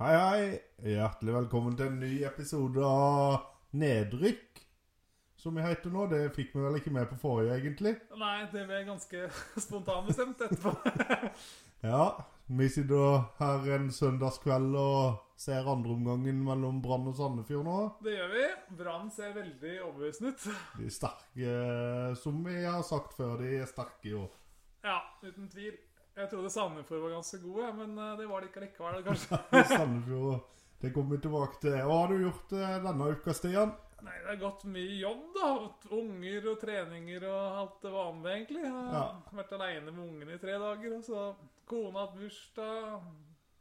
Hei, hei. Hjertelig velkommen til en ny episode av Nedrykk. Som vi heter nå. Det fikk vi vel ikke med på forrige, egentlig. Nei, det ble ganske spontanbestemt etterpå. Ja, vi sitter her en søndagskveld og ser andreomgangen mellom Brann og Sandefjord nå. Det gjør vi. Brann ser veldig overbevisende ut. De er sterke, som vi har sagt før, de er sterke i år. Ja, uten tvil. Jeg trodde Sandefjord var ganske gode, ja, men eh, det var de ikke likevel, kanskje. Sandefjord, det kommer vi tilbake til. Hva har du gjort eh, denne uka, Stian? Nei, det har gått mye jobb, da. Unger og treninger og alt det vanlige, egentlig. Jeg har Ja. vært aleine med ungene i tre dager, og så kona hatt bursdag.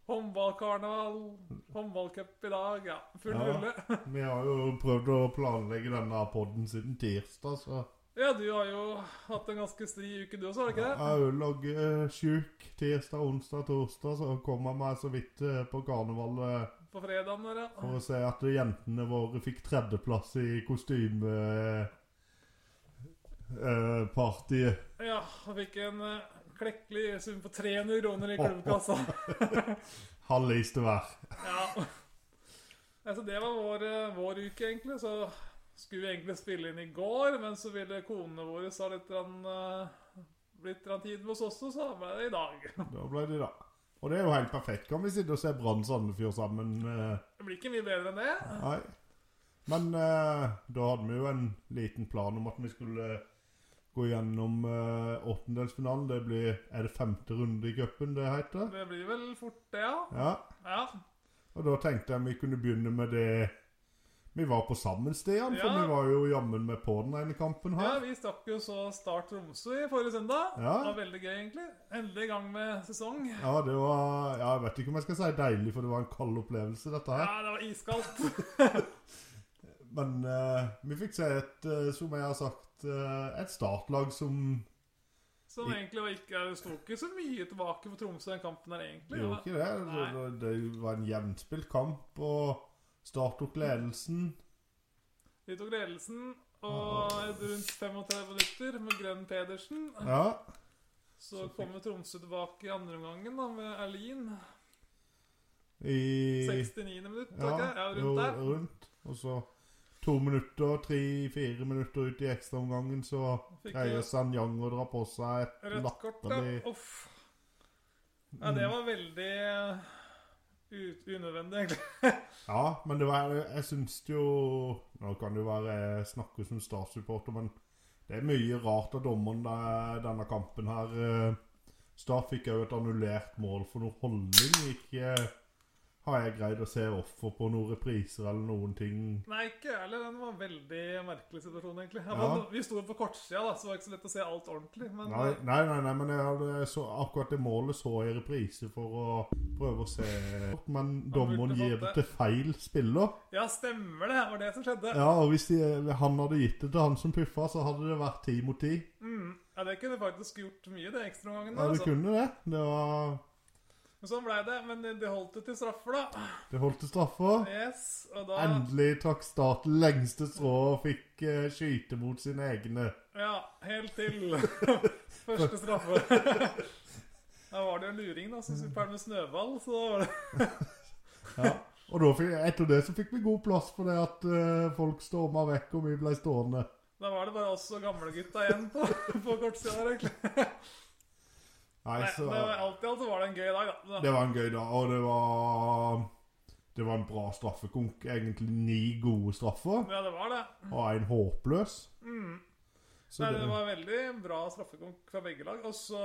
Håndballkarneval, håndballcup i dag, ja. Full Ja. rulle. Vi har jo prøvd å planlegge denne podden siden tirsdag, så Ja, du har jo hatt en ganske stri uke, du også, har du ikke det? Jeg lå eh, sjuk tirsdag, onsdag, torsdag, så kom jeg meg så vidt eh, på karnevalet På fredagen der, ja. for å se at jentene våre fikk tredjeplass i eh, kostymepartiet. eh, Ja, han fikk en eh, klekkelig sum på 300 kroner i klubbkassa. Hallis til hver. Ja. Altså, det var vår, eh, vår uke, egentlig. Så skulle vi egentlig spille inn i går, men så ville konene våre ha litt, grann, eh, litt grann tid med oss også, så da ble det i dag. Da ble det, da. Og det er jo helt perfekt. Kan vi sitte og se Brann Sandefjord sammen? eh, Det blir ikke mye bedre enn det. Nei. Men eh, da hadde vi jo en liten plan om at vi skulle gå gjennom eh, åttendelsfinalen. Det blir Er det femte runde i cupen det heter? Det blir vel fort det, ja. Ja. ja. Og da tenkte jeg vi kunne begynne med det vi var på sammen, Stian. For Ja. vi var jo jammen med på den ene kampen Ja, her. Vi stakk jo så Start Tromsø i forrige søndag. Ja. Det var veldig gøy, egentlig. Endelig i gang med sesong. Ja, det var ja, Jeg vet ikke om jeg skal si deilig, for det var en kald opplevelse, dette Ja, her. det var iskaldt. Men eh, vi fikk se et, eh, som jeg har sagt, eh, et startlag som Som egentlig var ikke Det sto ikke så mye tilbake for Tromsø den kampen der, egentlig. gjorde ikke det. Det, det. det var en jevnspilt kamp, og Start tok ledelsen. De tok ledelsen Ah, og et rundt 35 minutter med Grønn Pedersen. Ja. Så kommer Tromsø tilbake i andre omgangen da, med Erlin. I 69. minutt, ja, ikke? Ja, rundt jo, der. rundt. Og så to minutter, tre-fire minutter ut i ekstraomgangen, så Fikk greier jo Sanjang å dra på seg et rødt kort, da. latterlig Uff. Ja, det var veldig eh, ut- unødvendig, egentlig. Ja, men det var Jeg syns jo Nå kan det jo være jeg snakker som Start-supporter, men det er mye rart av dommeren der, denne kampen her. eh, Start fikk òg et annullert mål for noe holdning. Ikke eh, har jeg greid å se offer på noen repriser eller noen ting. Nei, ikke jeg heller. Den var en veldig merkelig situasjon, egentlig. Jeg Ja. var- Vi sto jo på kortsida, da, så det var ikke så lett å se alt ordentlig. Men eh, Nei, nei, nei, nei men jeg hadde så, akkurat det målet så jeg i reprise for å prøve å se Men dommeren fått gir det det. til feil spiller. ja, stemmer det. Det var det som skjedde. Ja, og hvis de, han hadde gitt det til han som puffa, så hadde det vært ti mot ti. Mm. Ja, det kunne faktisk gjort mye, det ekstraomgangen. Ja, der, det altså. kunne det. Det var Men Sånn blei det, men det holdt jo til straffer, da. Det holdt til straffer. Yes, og da Endelig trakk Start lengste strå og fikk eh, skyte mot sine egne. Ja, helt til første straffe. Da var det jo en luring, da, som skulle pæle med snøball, så da var det Ja. Og da fikk, etter det så fikk vi god plass for det at eh, folk storma vekk, og vi ble stående. Da var det bare oss og gamlegutta igjen på, på kortsida der, egentlig. Nei, Nei, eh, så det var, alt i alt så var det en gøy dag, da. Det var en gøy dag, og det var Det var en bra straffekonk. Egentlig ni gode straffer, Ja, det var det. og en håpløs. Mm. Så Nei, det, det var veldig bra straffekonk fra begge lag. Og så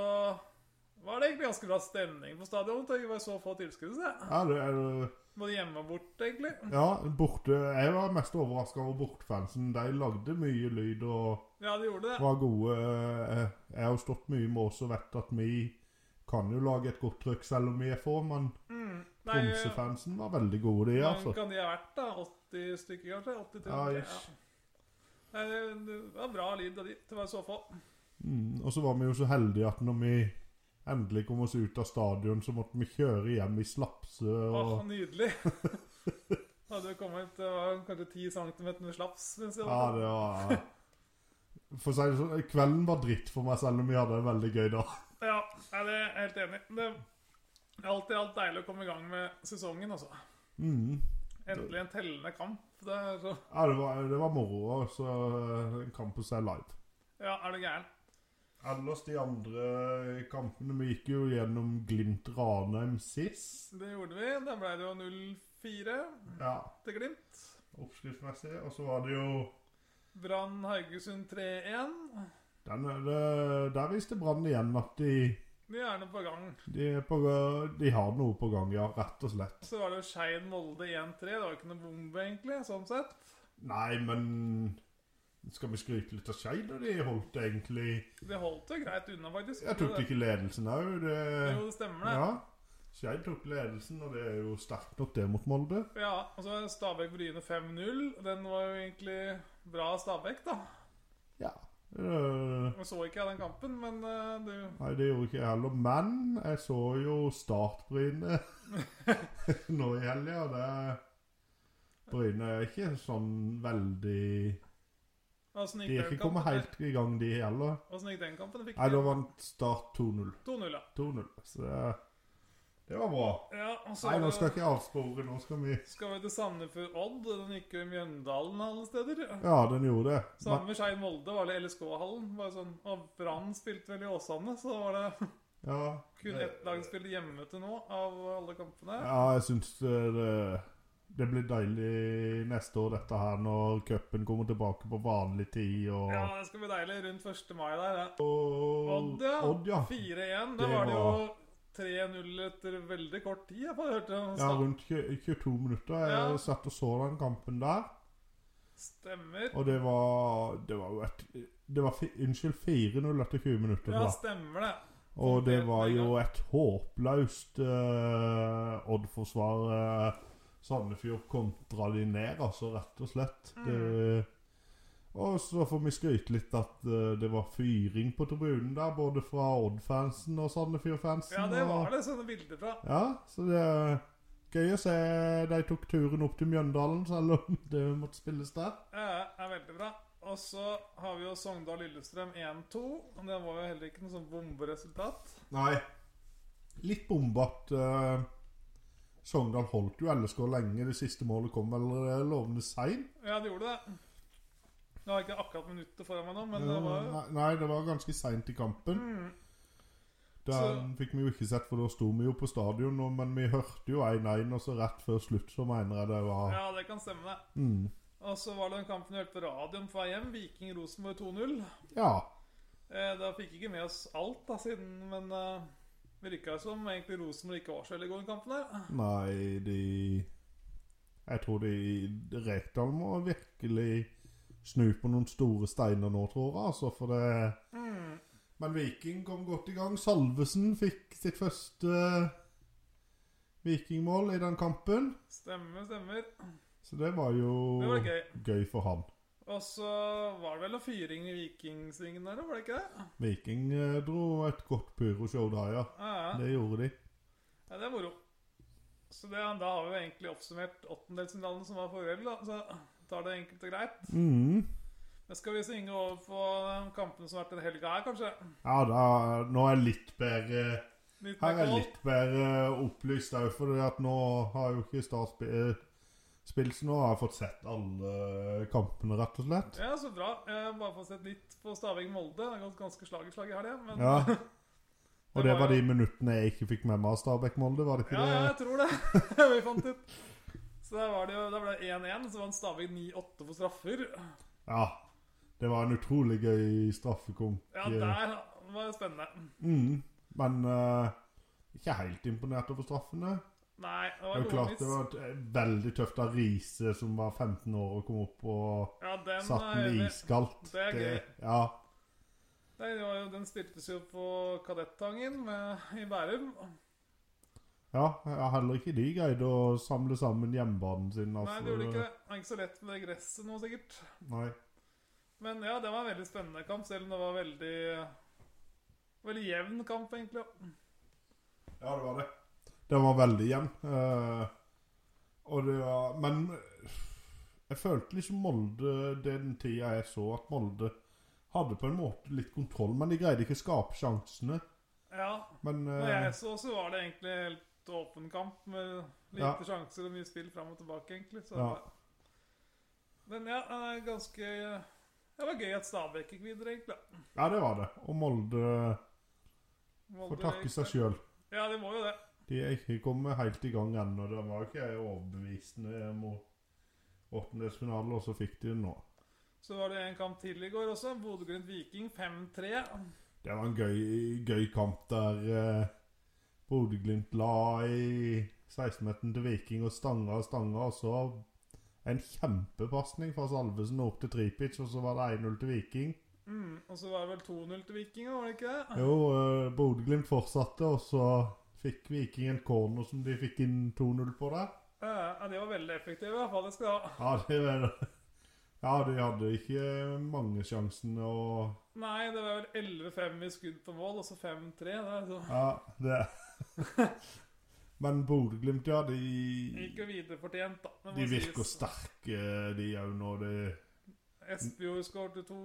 var det egentlig ganske bra stemning på stadion. Det var så få tilskuere, så jeg. ja, det er- Både hjemme og borte, egentlig. ja, borte Jeg var mest overraska over bortefansen. De lagde mye lyd og Ja, det gjorde det. var gode. eh, Jeg har jo stått mye med oss og vet at vi kan jo lage et godt trykk selv om vi er få, men Mm. Nei, Tromsø-fansen var veldig gode, de, Hvor altså. kan de ha vært, da? 80 stykker, kanskje? 80 Ja, ja, ish. Nei, det, det var bra lyd av de. Det var så få. Mm, og så var vi jo så heldige at når vi endelig kom oss ut av stadion, så måtte vi kjøre hjem i slapse og Åh, nydelig. Hadde jo kommet det var kanskje 10 cm med slaps. Mens jeg Ja, var. det var For å si det sånn, kvelden var dritt for meg, selv om vi hadde en veldig gøy dag. Ja, nei, det er jeg helt enig i. Det- Alt i alt deilig å komme i gang med sesongen, altså. Mm. Endelig en tellende kamp. Det er, så, Ja, det var, det var moro. og Så eh, en kamp å se live. ja, er det gæren? Ellers de andre kampene Vi gikk jo gjennom Glimt Ranheim sist. Det gjorde vi. Da ble det jo 0-4 Ja, til Glimt. oppskriftsmessig. Og så var det jo Brann Haugesund 3-1. den, er det, Der viste Brann igjen at de, De er nå på gang. de, er på, ga- de har noe på gang, ja. Rett og slett. Så var det jo Skeid Molde 1-3. Det var jo ikke noe bombe, egentlig, sånn sett. Nei, men skal vi skryte litt av Skeid? og De holdt egentlig Det holdt jo greit unna, faktisk. Jeg tok ikke ledelsen òg. Jo, det stemmer, det. Ja. Skeid tok ledelsen, og det er jo sterkt nok, det, mot Molde. Ja, og så var det Stabæk-Bryne 5-0. Den var jo egentlig bra av Stabæk, da. Ja. Øh, Jeg så ikke jeg den kampen, men eh, du Nei, det gjorde ikke jeg heller. Men jeg så jo Start-Bryne nå i helga. og Det Bryne er ikke sånn veldig Åssen De er den ikke kommet kampen? helt i gang, de heller. Åssen gikk den kampen? Fikk Nei, da de vant Start 2-0. 2-0, ja. 2-0. Så det, det var bra. ja og så Nei, nå skal skal... jeg ikke avspore. Nå skal vi skal vi til Sandefjord Odd. Den gikk jo i Mjøndalen alle steder. Ja, den gjorde det. Men, Sammen med Skeid Molde var det LSK-hallen. Bare sånn, og Brann spilte vel i Åsane, så var det ja, kun det- ett lag som spilte hjemme til nå av alle kampene. ja, jeg syns det, det blir deilig neste år, dette her, når cupen kommer tilbake på vanlig tid og Ja, det skal bli deilig rundt 1. mai der. ja. Og- Odd, ja. Odd, ja. 4-1. Ah. Det Da var det jo var- 3-0 etter veldig kort tid. Jeg bare hørte Ja, ja, rundt tjue- 22 minutter. Jeg Ja. satt og så den kampen der, Stemmer. og det var Det var jo et det var fi, Unnskyld, 4-0 etter 20 minutter. Ja, da. stemmer det. og det det var mener jeg. jo et håpløst eh, Odd-forsvar. eh, Sandefjord kontra de ned, altså, rett og slett. Mm. Det, og så får vi skryte litt at eh, det var fyring på tribunen der, både fra Odd-fansen og Sandefjord-fansen. Ja, det og- var det sånne bilder fra. Ja, så det er gøy å se de tok turen opp til Mjøndalen, selv om det måtte spilles der. Ja, ja, er veldig bra. Og så har vi jo Sogndal-Lillestrøm 1-2. og Det var jo heller ikke noe sånn bomberesultat. Nei. Litt bomba at eh, Sogndal holdt jo LSK lenge. Det siste målet kom vel eh, lovende seint. Ja, det gjorde det. Nå har jeg ikke akkurat minuttet foran meg nå, men det var jo Eh, nei, nei, det var ganske seint i kampen. mm. Den fikk vi jo ikke sett, for da sto vi jo på stadion, og- men vi hørte jo 1-1, og så rett før slutt så mener jeg det var Ja, det kan stemme, det. mm, Og så var det den kampen vi hørte på radioen på vei hjem. Viking-Rosenborg 2-0. Ja. Eh, da fikk ikke med oss alt, da, siden Men eh, virka som egentlig Rosenborg ikke var så veldig god i kampen der. Nei, de Jeg tror de Rekdal må virkelig snu på noen store steiner nå, tror jeg. Altså, for det Mm. Men Viking kom godt i gang. Salvesen fikk sitt første vikingmål i den kampen. Stemmer, stemmer. Så det var jo Det var gøy. gøy for han. Og så var det vel noe fyring i Vikingsvingen der, var det ikke det? Viking eh, dro et godt pyroshow der, ja. Ja, ja. Det gjorde de. Ja, det er moro. Så det, da har vi jo egentlig oppsummert åttendelsfinalen som var forrige helg, da. Så tar det enkelt og greit. Mm. Men skal vi svinge over på eh, kampene som har vært den helga her, kanskje? Ja, da, nå er litt bedre Litt Her er mer litt bedre opplyst òg, for at nå har jo ikke Start spi- eh, spilt, så nå har jeg fått sett alle kampene, rett og slett. Ja, så bra. Jeg har bare fått sett litt på Staving-Molde. Det har gått ganske slag i slag i helga, men Ja. Og Det det var var jo- de minuttene jeg ikke fikk med meg av Stabæk-Molde, var det ikke Ja, ja, det? jeg tror det. vi fant ut. Så der var det jo, da ble det 1-1, så vant Stavik 9-8 på straffer. Ja. Det var en utrolig gøy straffekonk. eh, Ja, der var det spennende. Mm. Men eh, ikke helt imponert over straffene. Nei, det Det var er jo noe klart det miss. var et, eh, veldig tøft av Riise, som var 15 år og kom opp og Ja, den satt er den enig. iskaldt. Det er Ja. Nei, det var jo, den spiltes jo på Kadettangen med, i Bærum. Ja, ja, heller ikke de greide å samle sammen hjemmebanen sin. altså. Nei, det gjorde ikke det. Det er ikke så lett med det gresset nå, sikkert. Nei. Men ja, det var en veldig spennende kamp, selv om det var veldig Veldig jevn kamp, egentlig. Ja, det var det. Den var veldig jevn. eh, og det var Men jeg følte liksom Molde den tida jeg så at Molde hadde på en måte litt kontroll, men de greide ikke å skape sjansene. Ja. Men Når eh, jeg så, så var det egentlig helt litt åpen kamp med lite Ja. sjanser og mye spill fram og tilbake, egentlig. Så det Ja. var- Men ja, det er ganske Det var gøy at Stabæk gikk videre, egentlig. da. Ja, det var det. Og Molde Molde får takke gikk seg der. sjøl. Ja, de må jo det. De er ikke kommet helt i gang ennå. De var jo ikke overbevisende mot åttendelsfinalen, og så fikk de det nå. Så var det en kamp til i går også. Bodø-Glimt-Viking 5-3. Det var en gøy, gøy kamp der eh, Bodø-Glimt la i 16-meteren til Viking og stanga og stanga, og så en kjempepasning fra Salvesen opp til Tripic, og så var det 1-0 til Viking. Mm. Og så var det vel 2-0 til Viking, var det ikke det? Jo, eh, Bodø-Glimt fortsatte, og så fikk Viking en corner som de fikk inn 2-0 på der. Ja, ja, de var veldig effektive, i hvert fall. Det skal de ha. Ja, det var det. Ja, de hadde ikke mange sjansene og Nei, det var vel 11-5 i skudd på mål, og så 5-3. Det er så- Ja, det Men Bodø-Glimt, ja, gikk de jo videre fortjent, da. det må De virker sies. sterke, de òg, når de Espejord skårte to.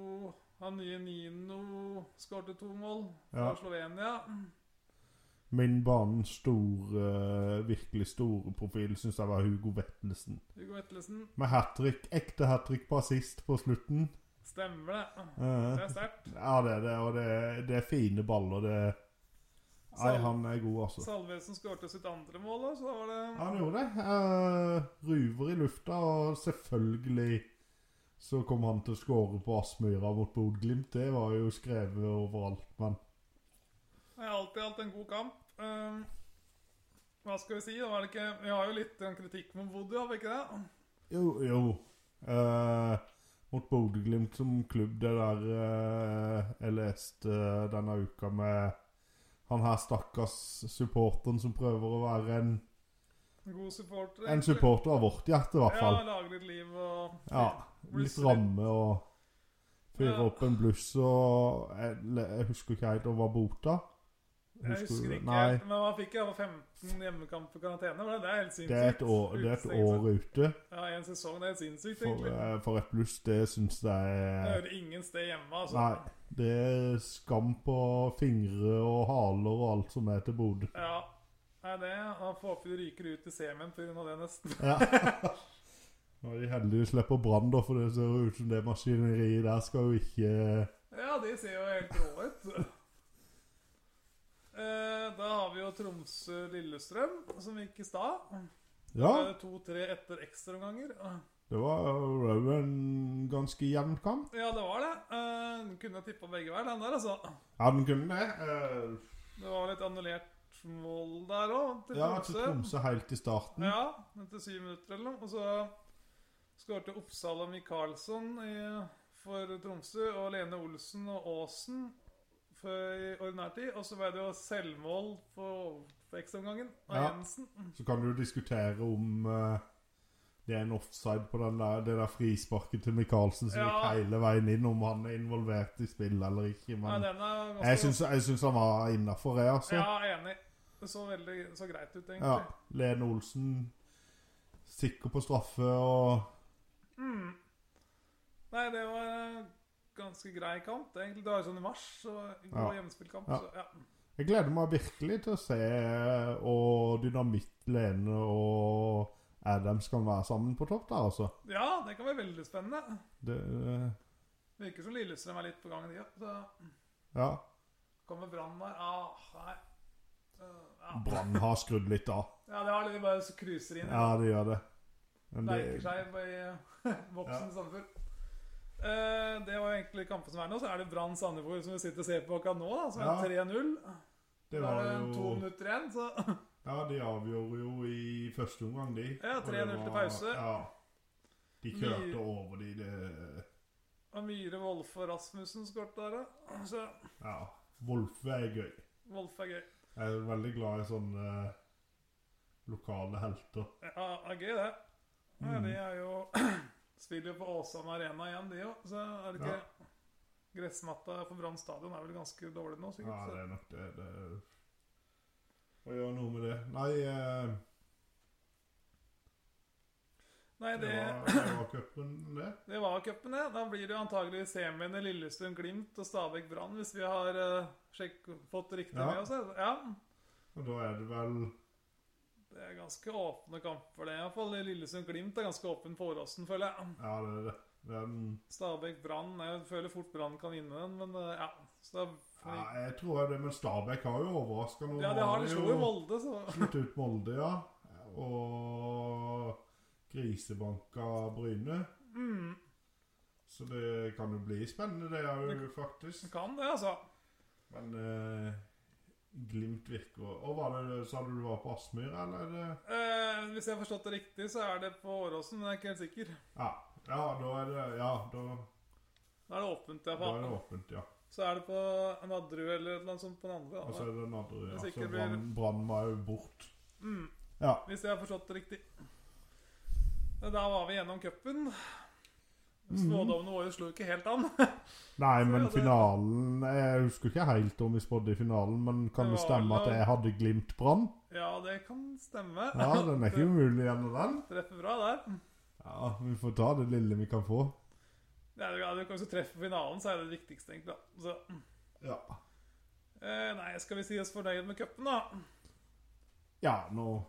Han nye Nino skårte to mål fra Ja. Slovenia. Min banens store, virkelig store profil syns jeg var Hugo Vettelsen. Hugo Vettelsen. Med hat trick, ekte hat trick på assist på slutten. Stemmer det. Det Eh, er sterkt. ja, det er det, og det, er- det er fine baller. Det Nei, Sal- han er god, altså. Salvesen skårte sitt andre mål, da, så da var det Han gjorde det. Eh, ruver i lufta, og selvfølgelig så kom han til å skåre på Aspmyra mot Bodø-Glimt. Det var jo skrevet overalt, men Jeg har alltid hatt en god kamp. Ehm, hva skal vi si? Da var det ikke Vi har jo litt eh, kritikk mot Bodø, har vi ikke det? Jo, jo. Eh, mot Bodø-Glimt som klubb, det der eh, jeg leste eh, denne uka med han her stakkars supporteren som prøver å være en, God supporter. en egentlig. supporter av vårt hjerte, i hvert fall. Ja, lage litt liv og Ja, litt ramme og fyre Ja. opp en bluss og jeg, le- jeg husker ikke helt hva bota. Jeg husker du- ikke, Nei, helt, men man fikk i hvert fall 15 hjemmekamper i karantene. var Det det er helt sinnssykt. det er et år, det er et år ute. Ja, en sesong. Det er helt sinnssykt, For, egentlig. eh, for et bluss, det syns jeg Det er hører ingen sted hjemme, altså. Nei. Det er skam på fingre og haler og alt som er til Bodø. Ja. Nei, det Han får håpe de ryker ut i semien pga. det, nesten. Ja. Nå er de heldige de slipper brann, da, for det ser jo ut som det maskineriet der skal jo ikke Ja, de ser jo helt rå ut. Eh, Da har vi jo Tromsø-Lillestrøm, som gikk i stad. Ja, Eh, 2-3 etter ekstraomganger. det var jo en ganske jevn kamp. Ja, det var det. Eh, Kunne tippa begge veier, den der, altså. Ja, den kunne det. Eh, Det var litt annullert mål der òg, til Ja, til Tromsø. Tromsø helt i starten. Ja, etter syv minutter eller noe. Og så skårte Oppsal og Michaelsson i, for Tromsø, og Lene Olsen og Aasen for i ordinær tid. Og så ble det jo selvmål på, på ekstraomgangen av Ja. Jensen. Så kan du diskutere om eh, det er en offside på den der, det der frisparket til Michaelsen som Ja. gikk hele veien inn, om han er involvert i spillet eller ikke. Nei, Men den er ganske jeg syns, jeg syns han var innafor, jeg, altså. Ja, enig. Det så veldig så greit ut, egentlig. Ja. Lene Olsen sikker på straffe og Mm. Nei, det var en ganske grei kamp. det, egentlig. Det var jo sånn i mars, så en god hjemmespillkamp. Ja. Så, ja. Jeg gleder meg virkelig til å se og dynamitt Lene og Adams kan være sammen på topp der, altså. ja, det kan være veldig spennende. Det, eh, Virker som Lillestrøm er litt på gang, de òg. så- ja. Kommer Brann der? Ah, nei. Eh, ja. Brann har skrudd litt av. ja, det har de bare så cruiser inn. Ja, det gjør det. Men det Leiker seg på i eh, Ja. voksen Sandefjord. Eh, det var egentlig kampen som er nå. Så er det Brann Sandefjord som vi sitter og ser på akkurat nå, da, som Ja. er 3-0. det Da var er det to jo minutter igjen, så Ja, de avgjorde jo i første omgang, de. Ja, Og det 3-0 til var- pause. Ja. De kjørte Mye- over de, det Og Myhre, Wolfe og Rasmussen skåret der, da. Så Ja. Wolfe er gøy. Wolfe er gøy. Jeg er veldig glad i sånne eh, lokale helter. Ja, det er gøy, det. Ja, Mm. de er jo Spiller jo på Åsane Arena igjen, de òg. Så er det ikke Gressmatta på Brann stadion er vel ganske dårlig nå, sikkert. Ja, så- det er nok det. det er- Å gjøre noe med det Nei, eh, Nei, det det, var, det var cupen, det. det var cupen, det. Da blir det jo antagelig semien i Lillestrøm, Glimt og Stabæk Brann, hvis vi har eh, sjekk, fått riktig Ja. med oss. her. Ja. Og da er det vel Det er ganske åpne kamper, det. Iallfall Lillesund-Glimt er ganske åpen på Åråsen, føler jeg. Ja, det er det. det er en- Stabæk-Brann Jeg føler fort Brann kan vinne den, men eh, ja. Så det er, ja, jeg tror det, men Stabæk har jo overraska nå. ja, det har de slo jo jo Molde, så slått ut Molde, ja. Og grisebanka Bryne. mm, Så det kan jo bli spennende, det er jo faktisk. de kan det, altså. Men eh, Glimt virker Og var det, Sa du du var på Aspmyr, eller? Er det? Eh, hvis jeg har forstått det riktig, så er det på Åråsen, men jeg er ikke helt sikker. Ja, ja, da er det Ja, da, Da er det åpent, da er iallfall. det åpent, ja. Så er det på Nadderud eller noe sånt på den andre. Og da. så er det den andre ja, Hvis så ikke blir- brann- Brann var jo bort. Mm, Ja. hvis jeg har forstått det riktig. Men Da var vi gjennom cupen. Mm. Smådommene våre slo ikke helt an. Nei, Så men ja, det- finalen Jeg husker ikke helt om vi spådde i finalen, men kan Det det var stemme at vel- jeg hadde Glimt-Brann? Ja, det kan stemme. Ja, den er ikke umulig gjennom den. Treffer bra der. Ja, vi får ta det lille vi kan få. Det er jo ja, du kan jo treffe finalen, så er det det viktigste, egentlig. da. Så, Ja. eh, nei, skal vi si oss fornøyd med cupen, da? Ja, nå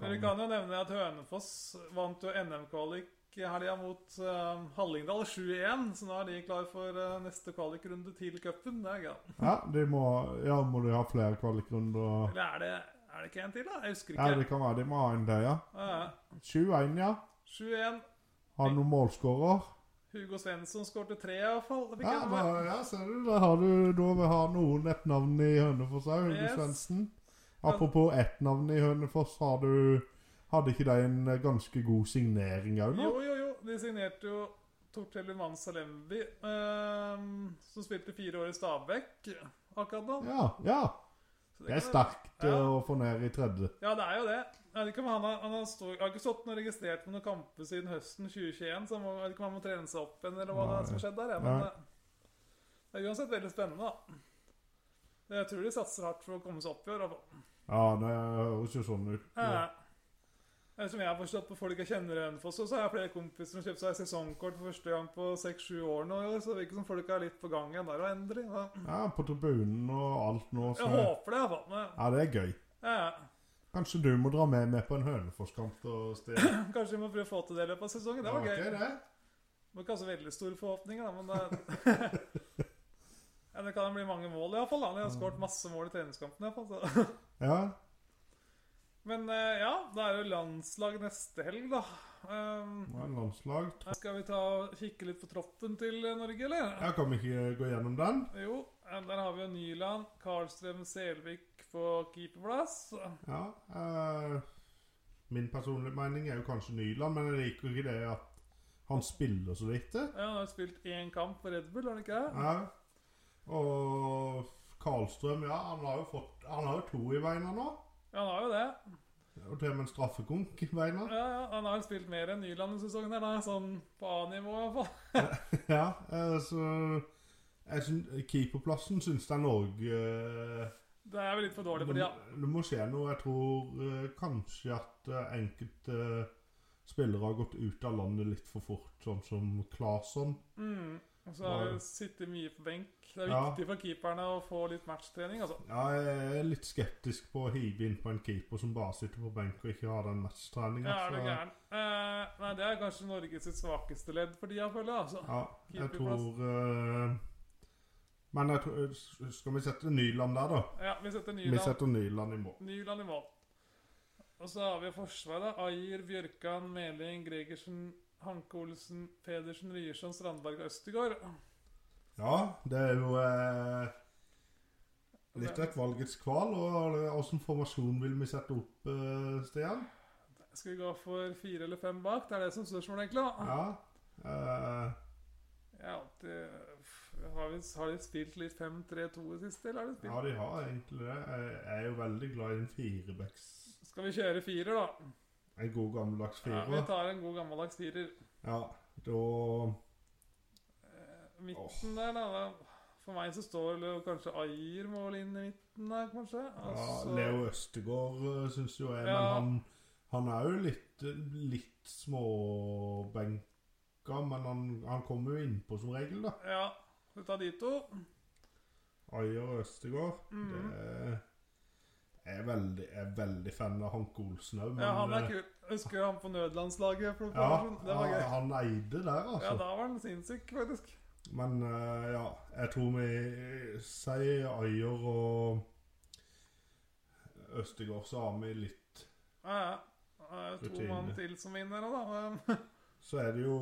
Men vi kan kan jo nevne at Hønefoss vant jo NM-kvalik i helga mot eh, Hallingdal 7-1, så nå er de klar for eh, neste kvalikrunde til cupen. Det er gøy. Ja, de må, ja, må de ha flere kvalikrunder? Eller er det, er det ikke en til, da? Jeg husker Ja, ikke. det kan være de må ha en til, ja. Ja, ja. 7-1, ja. 7-1. Har du noen målskårer? Hugo Svensson skårte tre, i hvert fall. Det fikk Ja, jeg da, med. ja, ser du. Da har du da vi har noen ettnavn i Hønefoss òg, Hugo Yes. Svendsen. Apropos ettnavn i Hønefoss, har du Hadde ikke de en ganske god signering òg nå? Jo, jo, jo. De signerte jo Tortelli Mansalembi, ehm, som spilte fire år i Stabæk akkurat nå. Ja. ja. Så Det er kan- sterkt eh, Ja. å få ned i tredje. Ja, det er jo det. Jeg vet ikke om han har, han har, stå, har ikke stått noe registrert på noen kamper siden høsten 2021, så han må, jeg vet ikke om han må trene seg opp igjen, eller hva det er som har skjedd der. Ja. Men Nei. eh, det er uansett veldig spennende, da. Jeg tror de satser hardt for å komme seg opp i år. i hvert fall. Ja, det høres jo sånn ut. Eh, eller Som jeg har forstått på folk jeg kjenner i Hønefoss, så har jeg flere kompiser som kjøpte seg sesongkort for første gang på seks-sju år nå i år, så det virker som folk er litt på gang igjen der og endelig. da. Ja, på tribunen og alt nå, så Jeg håper det, i hvert fall. men, Ja, det er gøy. eh, Kanskje du må dra med meg på en Hønefoss-kamp og stjele. Kanskje vi må prøve å få til det i løpet av sesongen. Det var gøy. det. Det var ikke altså veldig store forhåpninger, da, men det, ja, det kan bli mange mål i hvert fall, da. De har Mm. skåret masse mål i treningskampene. i hvert fall, så. Ja. Men eh, ja, da er det landslag neste helg, da. Ehm, nå er det Landslag. skal vi ta og kikke litt på troppen til eh, Norge, eller? Ja, kan vi ikke gå gjennom den? Jo, eh, der har vi jo Nyland, Karlstrøm, Selvik på keeperplass. Ja. eh, min personlige mening er jo kanskje Nyland, men jeg liker jo ikke det at han spiller så lite. Ja, han har spilt én kamp for Red Bull, har han ikke det? Ja. Og Karlstrøm, ja, han har jo fått Han har jo to i beina nå. Ja, han har jo det. Og til og med en straffekonk i beina. Ja, ja, han har spilt mer enn Nyland denne sesongen, her, da. sånn på A-nivå i hvert fall. Ja, eh, så jeg syn- Keeperplassen syns jeg Norge eh, Det er vel litt for dårlig for de, ja. det, det må skje noe. Jeg tror eh, kanskje at eh, enkelte spillere har gått ut av landet litt for fort, sånn som Claesson. Mm. Og så har vi sittet mye på benk. Det er Ja. viktig for keeperne å få litt matchtrening, altså. Ja, jeg er litt skeptisk på å hive inn på en keeper som bare sitter på benk og ikke har den matchtreninga. Ja, er du gæren. Eh, nei, det er kanskje Norge sitt svakeste ledd for tida, føler jeg, altså. ja, jeg Keeperplass. tror eh, Men jeg tror, skal vi sette Nyland der, da? Ja, vi setter Vi Nyland, setter Nyland i mål. Nyland i mål. Og så har vi Forsvaret. Ayer, Bjørkan, Meling, Gregersen, Hanke Olsen, Pedersen, Ryerson, Strandberg og Østegård. Ja, det er jo eh, litt et valgets kval. Og åssen formasjon vil vi sette opp, eh, Stian? Skal vi gå for fire eller fem bak? Det er det som er spørsmålet, egentlig. da. Ja. eh, Jeg har alltid Har, vi, har de spilt litt 5-3-2 i siste, eller har de spilt ja, de har egentlig det. Jeg er jo veldig glad i en firebacks. Skal vi kjøre firer, da? En god gammeldags Ja, vi firer. tar en god gammeldags firer. Ja, da Eh, Midten der, da. da- For meg så står det jo kanskje Ayer mål inn i midten der, kanskje. ja, Altså, Leo Østegård syns jo jeg, Ja. men han, han er jo litt, litt småbenka. Men han, han kommer jo innpå som regel, da. Ja. Vi tar de to. Mm. Ayer og Østegård. Mhm. Det, Jeg er veldig, jeg er veldig fan av Hanke Olsen òg, Ja, han er kul. Jeg Husker han på nødlandslaget? For Ja, det var gøy. han, han eide der, Ja, altså. da var han sinnssyk, faktisk. Men eh, ja, jeg tror vi eh, sier Ayer og Østegård, så har vi litt Ja, ja. Det er jo to Rutine. mann til som vinner, da. Men, Så er det jo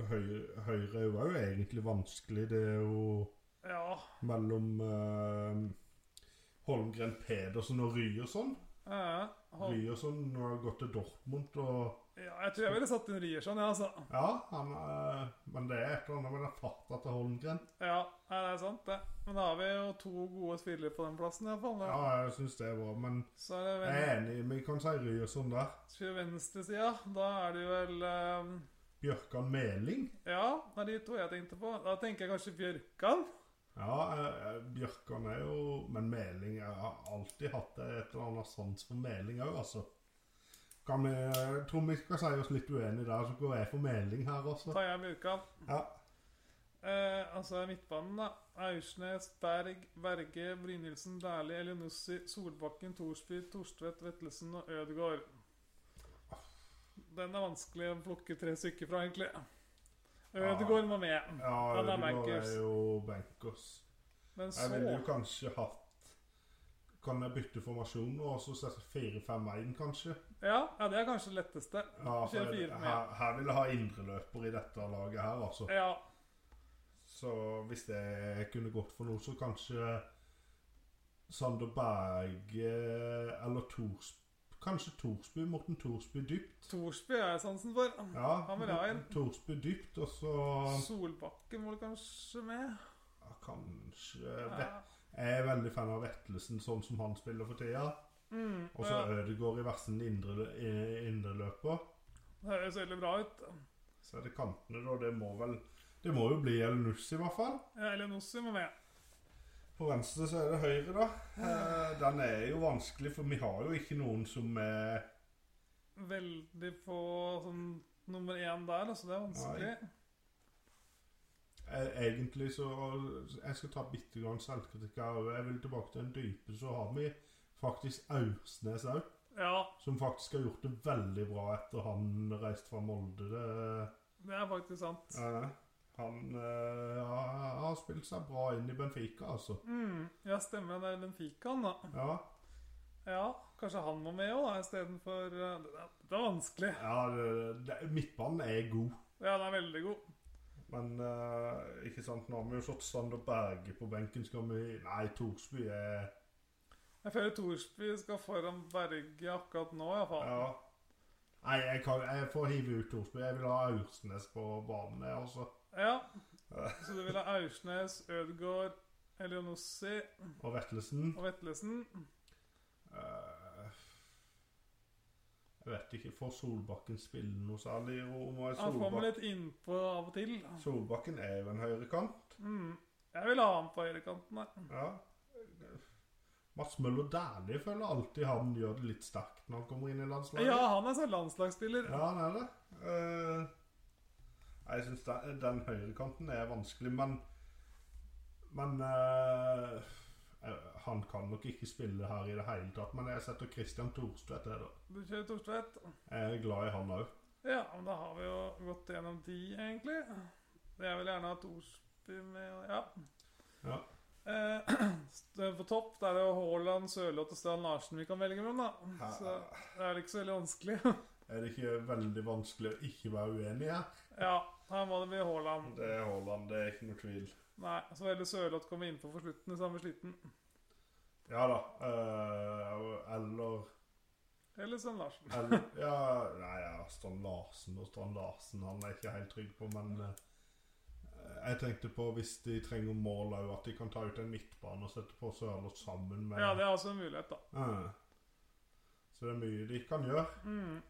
Høyre, høyre er jo også egentlig vanskelig. Det er jo ja. mellom eh, Holmgren Pedersen og Ryerson. ja, ja. Han- Ryerson har gått til Dortmund og Ja, jeg tror jeg ville satt inn Ryerson, jeg, altså. Ja, han, eh, men det er et eller annet med den farta til Holmgren. Ja, nei, det er sant, det. Men da har vi jo to gode spillere på den plassen, iallfall. Ja, jeg syns det er bra, men Så er det jeg er ven enig vi kan si Ryerson der. til venstresida. Da er det vel eh, Bjørkan Meling. Ja, det er de to jeg tenkte på. Da tenker jeg kanskje Bjørkan. Ja, eh, Bjørkan er jo Men Meling Jeg har alltid hatt et eller annet sans for Meling òg, altså. Kan vi, jeg tror vi skal si oss litt uenige der, så går jeg for Meling her, altså. Tar jeg Bjørkan. Ja. Eh, altså midtbanen, da. Aursnes, Berg, Berge, Brynildsen, Dæhlie, Elionussi, Solbakken, Thorsby, Torstvedt, Vettelsen og Ødegaard. Den er vanskelig å plukke tre stykker fra, egentlig. Ødegaard må med. ja Han er Ødegaard bankers. er jo bankers. Men så Jeg ville jo kanskje hatt Kan jeg bytte formasjon nå, og så sette 4-5-1, kanskje? Ja, ja, det er kanskje det letteste. Ja, for Kjøre jeg, fire med. her, her vil jeg ha indreløper i dette laget her, altså. Ja, Så hvis det kunne gått for noe, så kanskje Sander Berge eller Tors, Kanskje Thorsby, Morten Thorsby dypt. Thorsby har jeg sansen for. Ja, Han vil jeg ha inn. Thorsby dypt, og så Solbakken må du kanskje med. ja, kanskje Ja. Vet- Jeg er veldig fan av Vettelsen sånn som han spiller for tida. Mm, Og så ja. Ødegaard i versen indre, i- indreløper. Det høres veldig bra ut. Så er det kantene, da. Det må vel Det må jo bli El Nuss, i hvert fall. Ja, Elionussi må med. På venstre så er det høyre, da. Eh, den er jo vanskelig, for vi har jo ikke noen som er Veldig på sånn nummer én der, altså. Det er vanskelig. eh, Egentlig så Jeg skal ta bitte grann selvkritikk her òg. Jeg vil tilbake til den dype. Så har vi faktisk Aursnes òg, Ja, som faktisk har gjort det veldig bra etter han reiste fra Molde. Det, det er faktisk sant. eh, han eh, har- har spilt seg bra inn i Benfica, altså. Mm, ja, stemmer det. er Benfica, han, da. Ja, Ja, kanskje han må med òg, istedenfor eh, det, er- det er vanskelig. ja det, det, Midtbanen er god. Ja, den er veldig god. Men eh, ikke sant, nå har vi jo fått Sander Berge på benken. Skal vi Nei, Thorsby er Jeg føler Thorsby skal foran Berge akkurat nå, iallfall. Ja. Nei, jeg, kan, jeg får hive ut Thorsby. Jeg vil ha Aursnes på banen, jeg også. Ja. Så du vil ha Aursnes, Ødgaard, Elionossi Og Vettelsen. og Vetlesen? Eh, jeg vet ikke. Får Solbakken spille noe særlig? Om jeg Han kommer Solbakken, litt innpå av og til. Solbakken er jo en høyrekant. Mm. Jeg vil ha han på høyrekanten. jeg. Ja. Mats Møller Dæhlie føler alltid han gjør det litt sterkt når han kommer inn i landslaget. Ja, han er sånn landslagsspiller. Ja, han er det. Eh, jeg syns den, den høyrekanten er vanskelig, men Men eh, eh, han kan nok ikke spille her i det hele tatt, men jeg setter Christian Thorstvedt her, da. Du kjører Torstvedt. Jeg er glad i han òg. Ja, men da har vi jo gått gjennom de, egentlig. Jeg vil gjerne ha Thorsby med Ja. Ja. Eh, på topp der er det jo Haaland, Sørloth og Stian Larsen vi kan velge mellom, da. Så det er vel ikke så veldig vanskelig. Er det ikke veldig vanskelig å ikke være uenig her? Ja, her må det bli Haaland. Det er Haaland, det er ikke noe tvil. Nei, så heller Sørloth komme innpå for slutten i samme sliten. Ja da. eh, eller, Eller Stian Larsen. eller Ja, nei, ja, Strand Larsen og Strand Larsen, han er jeg ikke helt trygg på, men eh, Jeg tenkte på hvis de trenger mål òg, at de kan ta ut en midtbane og sette på Sørloth sammen med Ja, det er også en mulighet, da. Ja. Så det er mye de kan gjøre. Mm.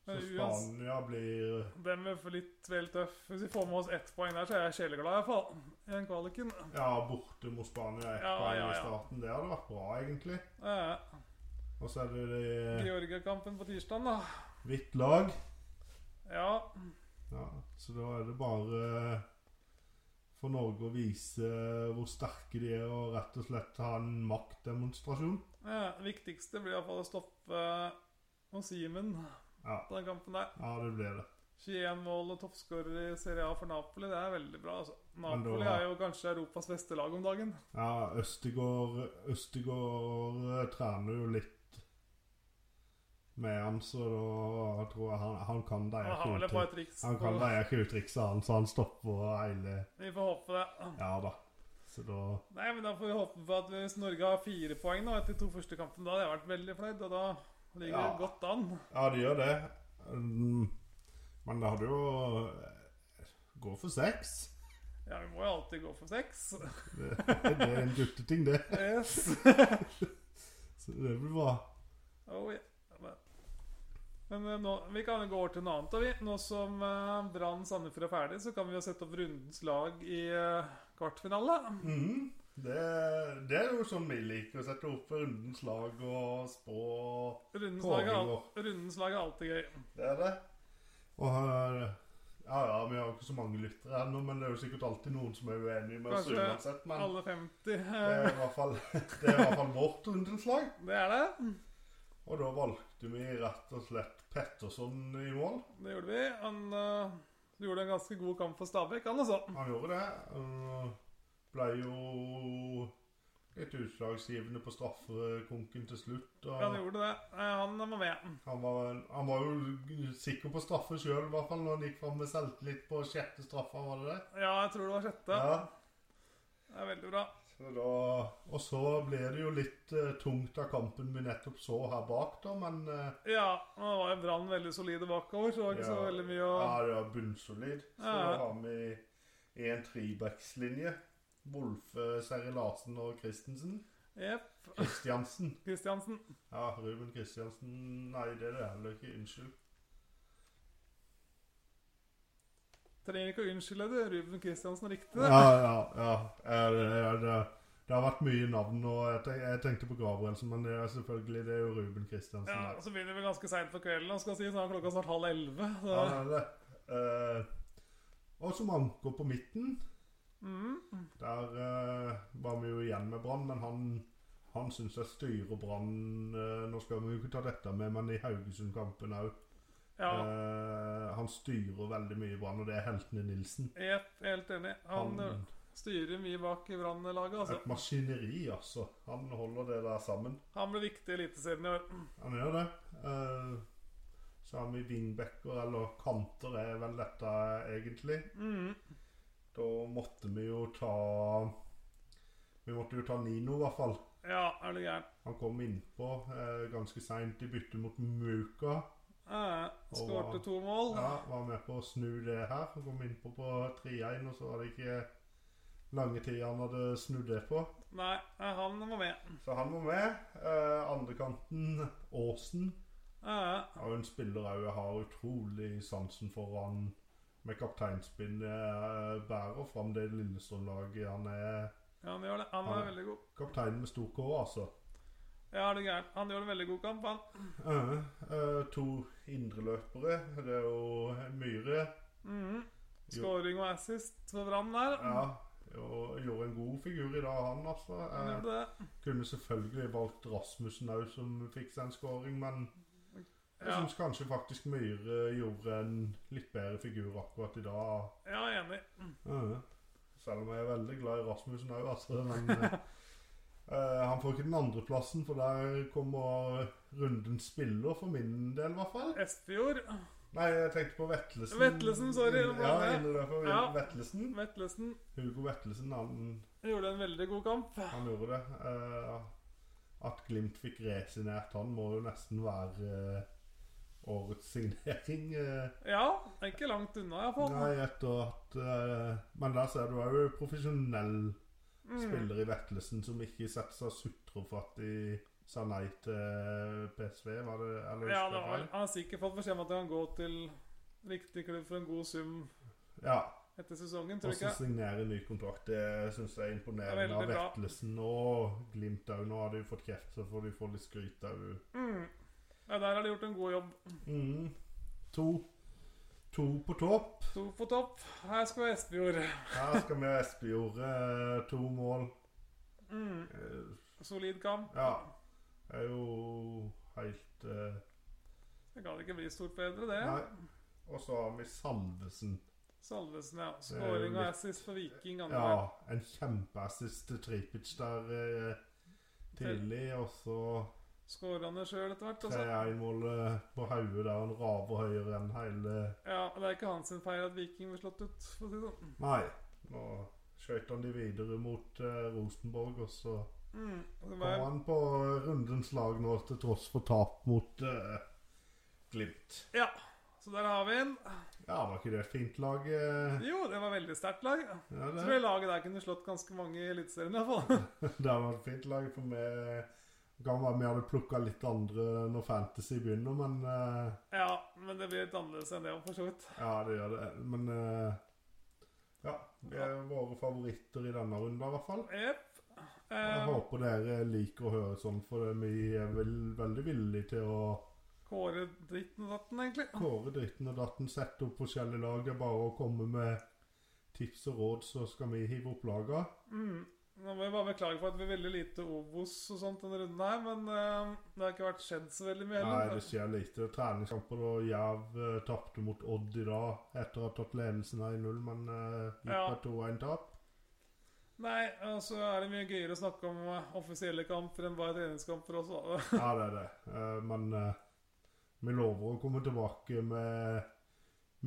Så Men uans- Spania blir Den blir for litt vel tøff. Hvis vi får med oss ett poeng der, så er jeg sjeleglad, iallfall. I den kvaliken. Ja, borte mot Spania ett Ja, poeng ja, ja. i starten. Det hadde vært bra, egentlig. Eh, Og så er det de Georgia-kampen på tirsdag, da. hvitt lag. Ja. Ja, så da er det bare eh, for Norge å vise hvor sterke de er, og rett og slett ha en maktdemonstrasjon. Ja, det eh, viktigste blir iallfall å stoppe Osimen Ja, på den kampen der. ja det blir det. 21 mål og toppskårer i Serie A for Napoli, det er veldig bra. altså. Men da- Napoli er jo kanskje Europas beste lag om dagen. Ja, Østegård, Østegård eh, trener jo litt med han, så da tror jeg han, han kan det Han har vel et ikke par utri- triks. Han kan på- det ikke utrikse han, så han stopper hele Vi får håpe det. Ja da. Så da Nei, men Da får vi håpe på at hvis Norge har fire poeng nå etter de to første kampene, da hadde jeg vært veldig fornøyd. Og da ligger Ja. det godt an. Ja, det gjør det. Mm, Men det hadde jo Gå for seks. Ja, vi må jo alltid gå for seks. Det, det er en gutteting, det. Yes. Så det blir bra. Oh, yeah. Men- Men eh, nå, vi kan jo gå over til noe annet. da, vi. Nå som eh, Brann Sandefjord er ferdig, så kan vi jo sette opp rundens lag i eh, kvartfinale. Mhm. Det, det er jo sånn vi liker å sette opp rundens lag og spå. Rundens lag, er, al- Kåringer. rundens lag er alltid gøy. Det er det. Og eh, ja, ja, vi har jo ikke så mange lyttere ennå, men det er jo sikkert alltid noen som er uenige med oss Kanskje uansett. Men Alle 50. det eh, er i hvert fall, det er i hvert fall vårt rundens lag. Det er det. Og da valgte vi rett og slett Petterson i mål. Det gjorde vi. Han eh, gjorde en ganske god kamp for Stabæk, han altså. Han gjorde det. øh, Ble jo litt utslagsgivende på straffekonken til slutt. og Han gjorde det. Eh, Han må med. han, var, han var jo sikker på straffe sjøl, i hvert fall når han gikk fram med selvtillit på sjette straffa, var det det? Ja, jeg tror det var sjette. Det er veldig bra. Så da, og så ble det jo litt eh, tungt av kampen vi nettopp så her bak, da, men eh, Ja, og det var jo Brann veldig solide bakover, så det var ikke så Ja. veldig mye å ja, det var bunnsolid. Så Ja. har vi en trebackslinje. Wolfe, Seri Larsen og Christensen. Jepp. Christiansen. Kristiansen. Ja, Ruben Kristiansen Nei, det er det heller ikke. Unnskyld. Trenger ikke å unnskylde det. Ruben Kristiansen riktig det. Ja, ja, ja. ja det, ja, det, det har vært mye navn, og jeg, tenk, jeg tenkte på Gabrielsen, men det er selvfølgelig det sånn er jo Ruben Kristiansen. Ja, og der. Så begynner vi ganske seint på kvelden, og skal si, så er klokka snart halv elleve. Så. Ja, det er det. Eh, og som anker på midten Mm. Der eh, var vi jo igjen med Brann, men han, han syns jeg styrer Brann eh, Nå skal vi jo ikke ta dette med, men i Haugesund-kampen òg. ja. han styrer veldig mye Brann, og det er heltene Nilsen. Jepp, helt enig. Han, Han- eh, styrer mye bak i Brann-laget, Et altså. maskineri, altså. Han holder det der sammen. Han ble viktig i Eliteserien i år. Han gjør det. Eh, så har vi wingbacker, eller kanter er vel dette egentlig. Mm. Da måtte vi jo ta Vi måtte jo ta Nino, i hvert fall. Ja, er du gæren. Han kom innpå eh, ganske seint i bytte mot Muka. Eh, Skårte to mål. Ja, var med på å snu det her. Han kom innpå på 3-1, og så var det ikke lange tid han hadde snudd det på. Nei, eh, han må med. Så han var med. Eh, Andrekanten Aasen. Eh, er jo en spiller òg jeg har utrolig sansen for. Han med kapteinspinn eh, bærer fram det Lillestrøm-laget. Han er ja, han gjør det. Han er Han- veldig god. kaptein med stor K, altså. Ja, er du gæren. Han gjorde en veldig god kamp, han. Eh, eh, to indreløpere. Det er jo Myhre. Mm. Jo. Skåring og assist for Brann der. Ja, og gjorde en god figur i dag, han altså. Han Eh, gjorde det. kunne selvfølgelig valgt Rasmussen òg, som fikk seg en scoring, men jeg Ja. syns kanskje faktisk Myhre gjorde en litt bedre figur akkurat i dag. Ja, enig. Mhm. Selv om jeg er veldig glad i Rasmussen òg, altså. Men eh, eh, han får ikke den andreplassen, for der kommer rundens spiller, for min del i hvert fall. Espejord. Nei, jeg tenkte på Vetlesen. Mm, Vetlesen, sorry, det Ja, var det. innløper Ja. Vetlesen. Vetlesen Hugo Vetlesen, han, gjorde en veldig god kamp. han gjorde det. Eh, at Glimt fikk resinert han, må jo nesten være eh, årets signering. eh. Ja, det er ikke langt unna, iallfall. Nei, etter at eh, Men der ser du òg profesjonell Mm. spiller i Vettelsen som ikke setter seg sutre for at de sa nei til PSV, var det? Eller husker Ja, det jeg var, feil? han har sikkert fått beskjed om at han kan gå til riktig klubb for en god sum Ja. etter sesongen, Og tror du så ikke? signere ny kontrakt. Det syns jeg er Det er imponerende veldig av bra. Vettelsen og Glimt òg. Nå har de fått kreft, så får de få litt skryt òg. Mm. Ja, der har de gjort en god jobb. Mm. To. To på topp. To på topp. Her skal vi ha Espejord. Her skal vi ha Espejord. eh, To mål. Mm. Eh, Solid kamp. Ja. Det er jo helt eh, Det kan ikke bli stort bedre, det. Nei. Og så har vi Salvesen. Salvesen, ja. Det er jo Skåring og litt- assist for Viking. andre gang. Ja, en kjempeassist til Tripic der eh, tidlig, og så Skårer han det sjøl etter hvert. Altså. 3-1-målet på hodet der han raver høyere enn hele Ja, Det er ikke hans sin feil at Viking blir slått ut. for å si det sånn. Nei, nå skøyt han de videre mot eh, Rosenborg, og så Mm. Det kom var, han på rundens lag nå til tross for tap mot eh, Glimt. ja, Så der har vi den. Ja, var ikke det et fint lag? eh? Jo, det var veldig sterkt lag. Ja, Jeg det. tror det laget der kunne slått ganske mange i Eliteserien. i hvert fall. Det hadde vært fint lag for meg. Det Kan være vi hadde plukka litt andre når Fantasy begynner, men eh, Ja, men det blir litt annerledes enn det, for så vidt. Ja, det gjør det. Men eh, ja. Vi er våre favoritter i denne runden, i hvert fall. Jepp. Jeg Eh, håper dere liker å høre sånn, for vi er vel, veldig villige til å Kåre dritten og datten, egentlig. kåre dritten og datten, sette opp forskjellige lag. Det er bare å komme med tips og råd, så skal vi hive opp laga. Mm. Nå må jeg bare beklage for at vi er veldig lite Obos og sånt denne runden her, men eh, det har ikke vært skjedd så veldig mye Nei, heller. det skjer lite. Treningskamper og Jerv eh, tapte mot Odd i dag etter å ha tatt ledelsen 1-0, men eh, gikk Ja. på 2-1-tap. Nei, og så er det mye gøyere å snakke om eh, offisielle kamper enn bare treningskamper også. da. Ja, det er det. Eh, men eh, vi lover å komme tilbake med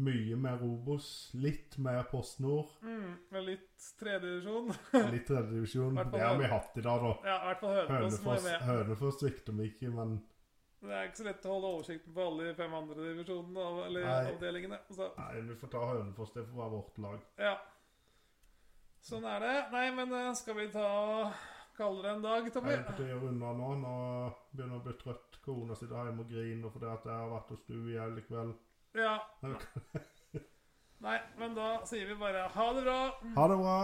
mye mer Obos, litt mer Post Nord, Mm, med litt tredjedivisjon. litt tredjedivisjon. Hvertfall Det har vi Høne- hatt i dag, da. Ja, i hvert fall Hønefoss må jo Hønefoss, med. Hønefoss svikter vi ikke, men Det er ikke så lett å holde oversikten på alle de fem andre divisjonene av- eller Nei. avdelingene. Altså, Så, nei, vi får ta Hønefoss. Det får være vårt lag. ja. Sånn er det. Nei, men eh, skal vi ta og kalle det en dag, Jeg Tommy? er på tide å runde av nå. Nå begynner jeg å bli trøtt. Kona sitter hjemme og griner fordi at jeg har vært hos du i hele kveld. Ja. Nei, men da sier vi bare ha det bra. Ha det bra!